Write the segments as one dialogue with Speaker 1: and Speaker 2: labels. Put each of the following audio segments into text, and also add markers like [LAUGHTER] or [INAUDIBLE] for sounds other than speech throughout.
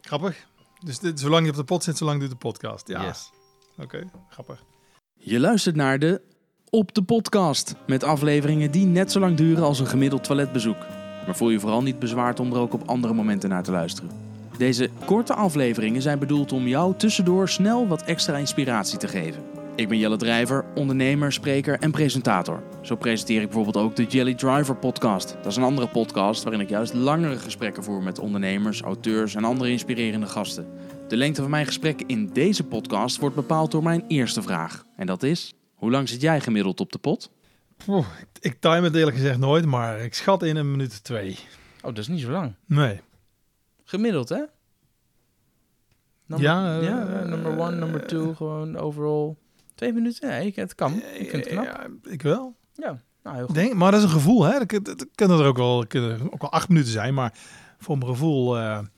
Speaker 1: Grappig. Dus dit, zolang je op de pot zit, zolang doet de podcast. Ja.
Speaker 2: Yes.
Speaker 1: Oké, grappig.
Speaker 2: Je luistert naar de Op de Podcast. Met afleveringen die net zo lang duren als een gemiddeld toiletbezoek. Maar voel je vooral niet bezwaard om er ook op andere momenten naar te luisteren. Deze korte afleveringen zijn bedoeld om jou tussendoor snel wat extra inspiratie te geven. Ik ben Jelle Drijver, ondernemer, spreker en presentator. Zo presenteer ik bijvoorbeeld ook de Jelly Driver podcast. Dat is een andere podcast waarin ik juist langere gesprekken voer met ondernemers, auteurs en andere inspirerende gasten. De lengte van mijn gesprek in deze podcast wordt bepaald door mijn eerste vraag. En dat is, hoe lang zit jij gemiddeld op de pot?
Speaker 1: Oeh, ik, ik time het eerlijk gezegd nooit, maar ik schat in een minuut of twee.
Speaker 2: Oh, dat is niet zo lang.
Speaker 1: Nee.
Speaker 2: Gemiddeld, hè?
Speaker 1: Ja, eh,
Speaker 2: ja, number one, number two, gewoon overall. Twee minuten, ja, ik- het kan. Ik vind het knap.
Speaker 1: eh, Ja, ik wel.
Speaker 2: Ja, nou heel
Speaker 1: Ik
Speaker 2: goed.
Speaker 1: Denk, maar dat is een gevoel, hè? Dat kun- Dat kunnen er ook wel, kunnen ook wel acht minuten zijn, maar voor mijn gevoel... eh, want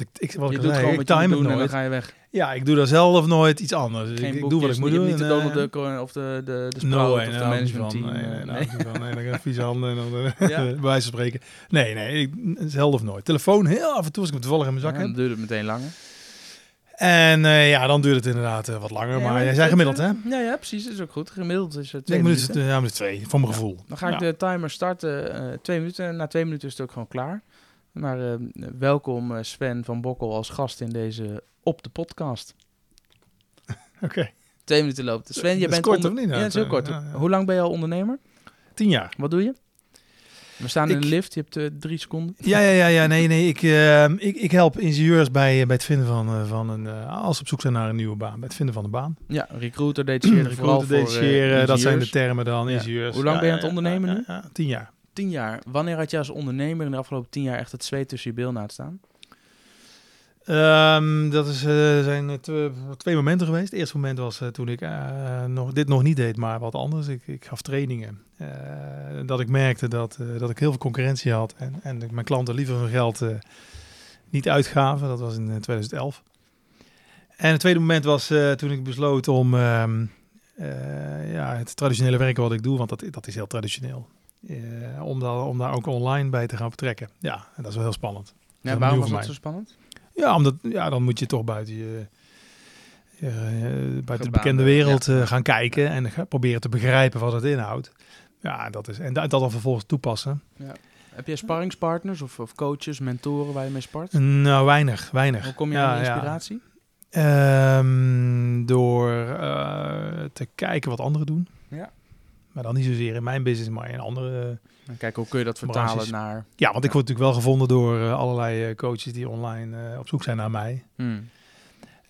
Speaker 1: ik, ik, wat
Speaker 2: je
Speaker 1: ik
Speaker 2: doet
Speaker 1: al zei,
Speaker 2: gewoon
Speaker 1: ik
Speaker 2: wat je
Speaker 1: time
Speaker 2: moet
Speaker 1: het
Speaker 2: doen en dan
Speaker 1: nooit.
Speaker 2: ga je weg.
Speaker 1: Ja, ik doe daar zelf nooit iets anders. Dus
Speaker 2: Geen
Speaker 1: ik, ik doe
Speaker 2: boekjes,
Speaker 1: wat ik moet
Speaker 2: je
Speaker 1: doen.
Speaker 2: hebt Niet de
Speaker 1: en,
Speaker 2: Donald
Speaker 1: eh,
Speaker 2: Duck eh, of de, de, de
Speaker 1: No,
Speaker 2: Sprout
Speaker 1: way,
Speaker 2: of de
Speaker 1: daar hou ik niet
Speaker 2: management
Speaker 1: van.
Speaker 2: team.
Speaker 1: Nee, nee, daar
Speaker 2: eh, nee.
Speaker 1: hou ik niet van. Nee, dan ga ik
Speaker 2: [LAUGHS]
Speaker 1: vieze handen en dan, eh,
Speaker 2: Ja.
Speaker 1: [LAUGHS] bij wijze van spreken. Nee, nee, ik, zelf of nooit. Telefoon heel af en toe als ik hem toevallig in mijn zak
Speaker 2: Ja,
Speaker 1: heb.
Speaker 2: dan duurt het meteen langer.
Speaker 1: En eh, ja, dan duurt het inderdaad eh, wat langer.
Speaker 2: Ja,
Speaker 1: maar jij
Speaker 2: dat-
Speaker 1: zei gemiddeld, hè?
Speaker 2: dat- Ja, ja, precies. Dat is ook goed. Gemiddeld is het twee
Speaker 1: Twee minuten, eh,
Speaker 2: minuten.
Speaker 1: ja, minuten twee, voor mijn
Speaker 2: Ja.
Speaker 1: gevoel.
Speaker 2: Dan ga ik
Speaker 1: Ja.
Speaker 2: de timer starten. eh twee minuten. Na twee minuten is het ook gewoon klaar. Maar eh, welkom eh, Sven van Bokkel als gast in deze Op de Podcast.
Speaker 1: [LAUGHS] Oké,
Speaker 2: Twee minuten loopt. Sven,
Speaker 1: Dat
Speaker 2: je
Speaker 1: is
Speaker 2: bent
Speaker 1: kort,
Speaker 2: onder-
Speaker 1: of niet?
Speaker 2: Ja, dat is heel kort.
Speaker 1: Ja, ja.
Speaker 2: Hoe lang ben je al ondernemer?
Speaker 1: tien jaar.
Speaker 2: Wat doe je? We staan in
Speaker 1: Ik-
Speaker 2: een lift. Je hebt eh, drie seconden.
Speaker 1: Ja, ja, ja, ja nee, nee. Ik, eh, ik, ik help ingenieurs bij, eh, bij het vinden van, eh, van een... eh, als ze op zoek zijn naar een nieuwe baan, bij het vinden van een baan.
Speaker 2: Ja, recruiter, detacheren. vooral
Speaker 1: Recruiten,
Speaker 2: voor, eh,
Speaker 1: detacheren, dat zijn de
Speaker 2: ingenieurs.
Speaker 1: termen dan,
Speaker 2: Ja.
Speaker 1: ingenieurs.
Speaker 2: Hoe lang
Speaker 1: Ja,
Speaker 2: ben je
Speaker 1: ja,
Speaker 2: aan het
Speaker 1: ja,
Speaker 2: ondernemen
Speaker 1: ja, ja, tien jaar.
Speaker 2: Tien jaar. Wanneer had je als ondernemer in de afgelopen tien jaar echt het zweet tussen je bilnaad staan?
Speaker 1: Ehm, dat is, eh, zijn eh, tw- twee momenten geweest. Het eerste moment was eh, toen ik eh, nog, dit nog niet deed, maar wat anders. Ik, ik gaf trainingen. Eh, dat ik merkte dat, eh, dat ik heel veel concurrentie had. En, en dat mijn klanten liever hun geld eh, niet uitgaven. Dat was in eh, 2011. En het tweede moment was eh, toen ik besloot om ehm, eh, ja, het traditionele werken wat ik doe, want dat, dat is heel traditioneel. eh, om, daar, om daar ook online bij te gaan betrekken. Ja, en dat is wel heel spannend.
Speaker 2: Ja,
Speaker 1: opnieuw
Speaker 2: waarom
Speaker 1: voor
Speaker 2: was dat
Speaker 1: mij.
Speaker 2: zo spannend?
Speaker 1: Ja, omdat, ja, dan moet je toch buiten je. eh, eh, buiten de bekende
Speaker 2: Gebaande,
Speaker 1: wereld eh, gaan kijken en ga- proberen te begrijpen wat het inhoudt. Ja, dat is, en da- dat dan vervolgens toepassen.
Speaker 2: Heb jij sparringspartners of, of coaches, mentoren waar je mee spart?
Speaker 1: Nou, weinig, weinig.
Speaker 2: Hoe kom je
Speaker 1: Ja,
Speaker 2: aan die
Speaker 1: ja.
Speaker 2: inspiratie?
Speaker 1: Ehm, door eh, te kijken wat anderen doen.
Speaker 2: Ja.
Speaker 1: Maar dan niet zozeer in mijn business, maar in andere. eh,
Speaker 2: En kijk, hoe kun je dat vertalen
Speaker 1: Branches.
Speaker 2: naar...
Speaker 1: ja, want ik word natuurlijk wel gevonden door eh, allerlei eh, coaches die online eh, op zoek zijn naar mij.
Speaker 2: Hmm.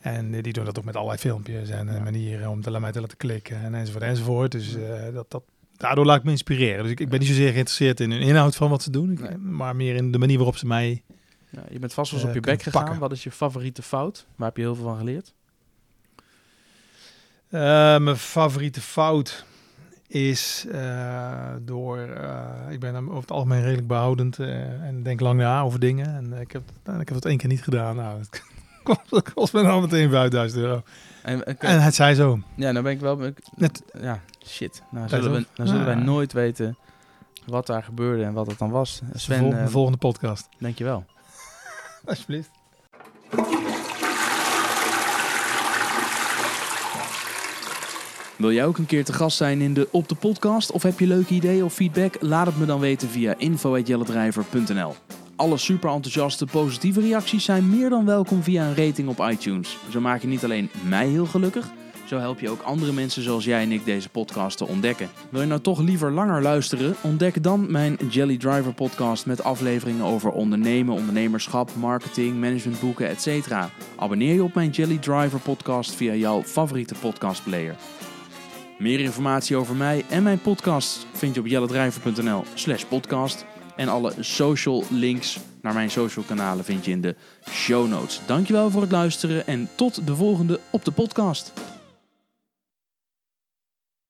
Speaker 1: En eh, die doen dat ook met allerlei filmpjes en eh,
Speaker 2: Ja.
Speaker 1: manieren om te, la- mij te laten klikken en enzovoort enzovoort. Dus eh, dat, dat, daardoor laat ik me inspireren. Dus ik, ik ben niet zozeer geïnteresseerd in hun inhoud van wat ze doen, ik-
Speaker 2: Nee.
Speaker 1: maar meer in de manier waarop ze mij...
Speaker 2: Ja, je bent vast wel eens
Speaker 1: Eh,
Speaker 2: op je bek
Speaker 1: kunnen
Speaker 2: gegaan.
Speaker 1: pakken.
Speaker 2: Wat is je favoriete fout? Waar heb je heel veel van geleerd?
Speaker 1: Eh, mijn favoriete fout is eh, door... eh, ik ben dan over het algemeen redelijk behoudend eh, en denk lang na over dingen. En eh, ik, heb, en ik heb dat één keer niet gedaan. Nou, dat [LAUGHS] kost- dat kost me nou meteen 5000 euro.
Speaker 2: En, en-
Speaker 1: En het zei zo.
Speaker 2: ja, dan ben ik wel... ik-
Speaker 1: Net- Ah.
Speaker 2: ja, shit. Nou
Speaker 1: Kijk
Speaker 2: zullen, we,
Speaker 1: toch?
Speaker 2: nou zullen wij
Speaker 1: Ja.
Speaker 2: nooit weten wat daar gebeurde en wat het dan was. Sven,
Speaker 1: Vol-
Speaker 2: eh,
Speaker 1: volgende podcast.
Speaker 2: dankjewel.
Speaker 1: [LAUGHS] Alsjeblieft.
Speaker 2: Wil jij ook een keer te gast zijn in de Op de Podcast? Of heb je leuke ideeën of feedback? Laat het me dan weten via info.jelledrijver.nl Alle super enthousiaste positieve reacties zijn meer dan welkom via een rating op iTunes. Zo maak je niet alleen mij heel gelukkig, zo help je ook andere mensen zoals jij en ik deze podcast te ontdekken. Wil je nou toch liever langer luisteren? Ontdek dan mijn Jelly Driver podcast met afleveringen over ondernemen, ondernemerschap, marketing, managementboeken, etc. Abonneer je op mijn Jelly Driver podcast via jouw favoriete podcastplayer. Meer informatie over mij en mijn podcast vind je op jellendrijver.nl slash podcast. En alle social links naar mijn social kanalen vind je in de show notes. Dankjewel voor het luisteren en tot de volgende op de podcast.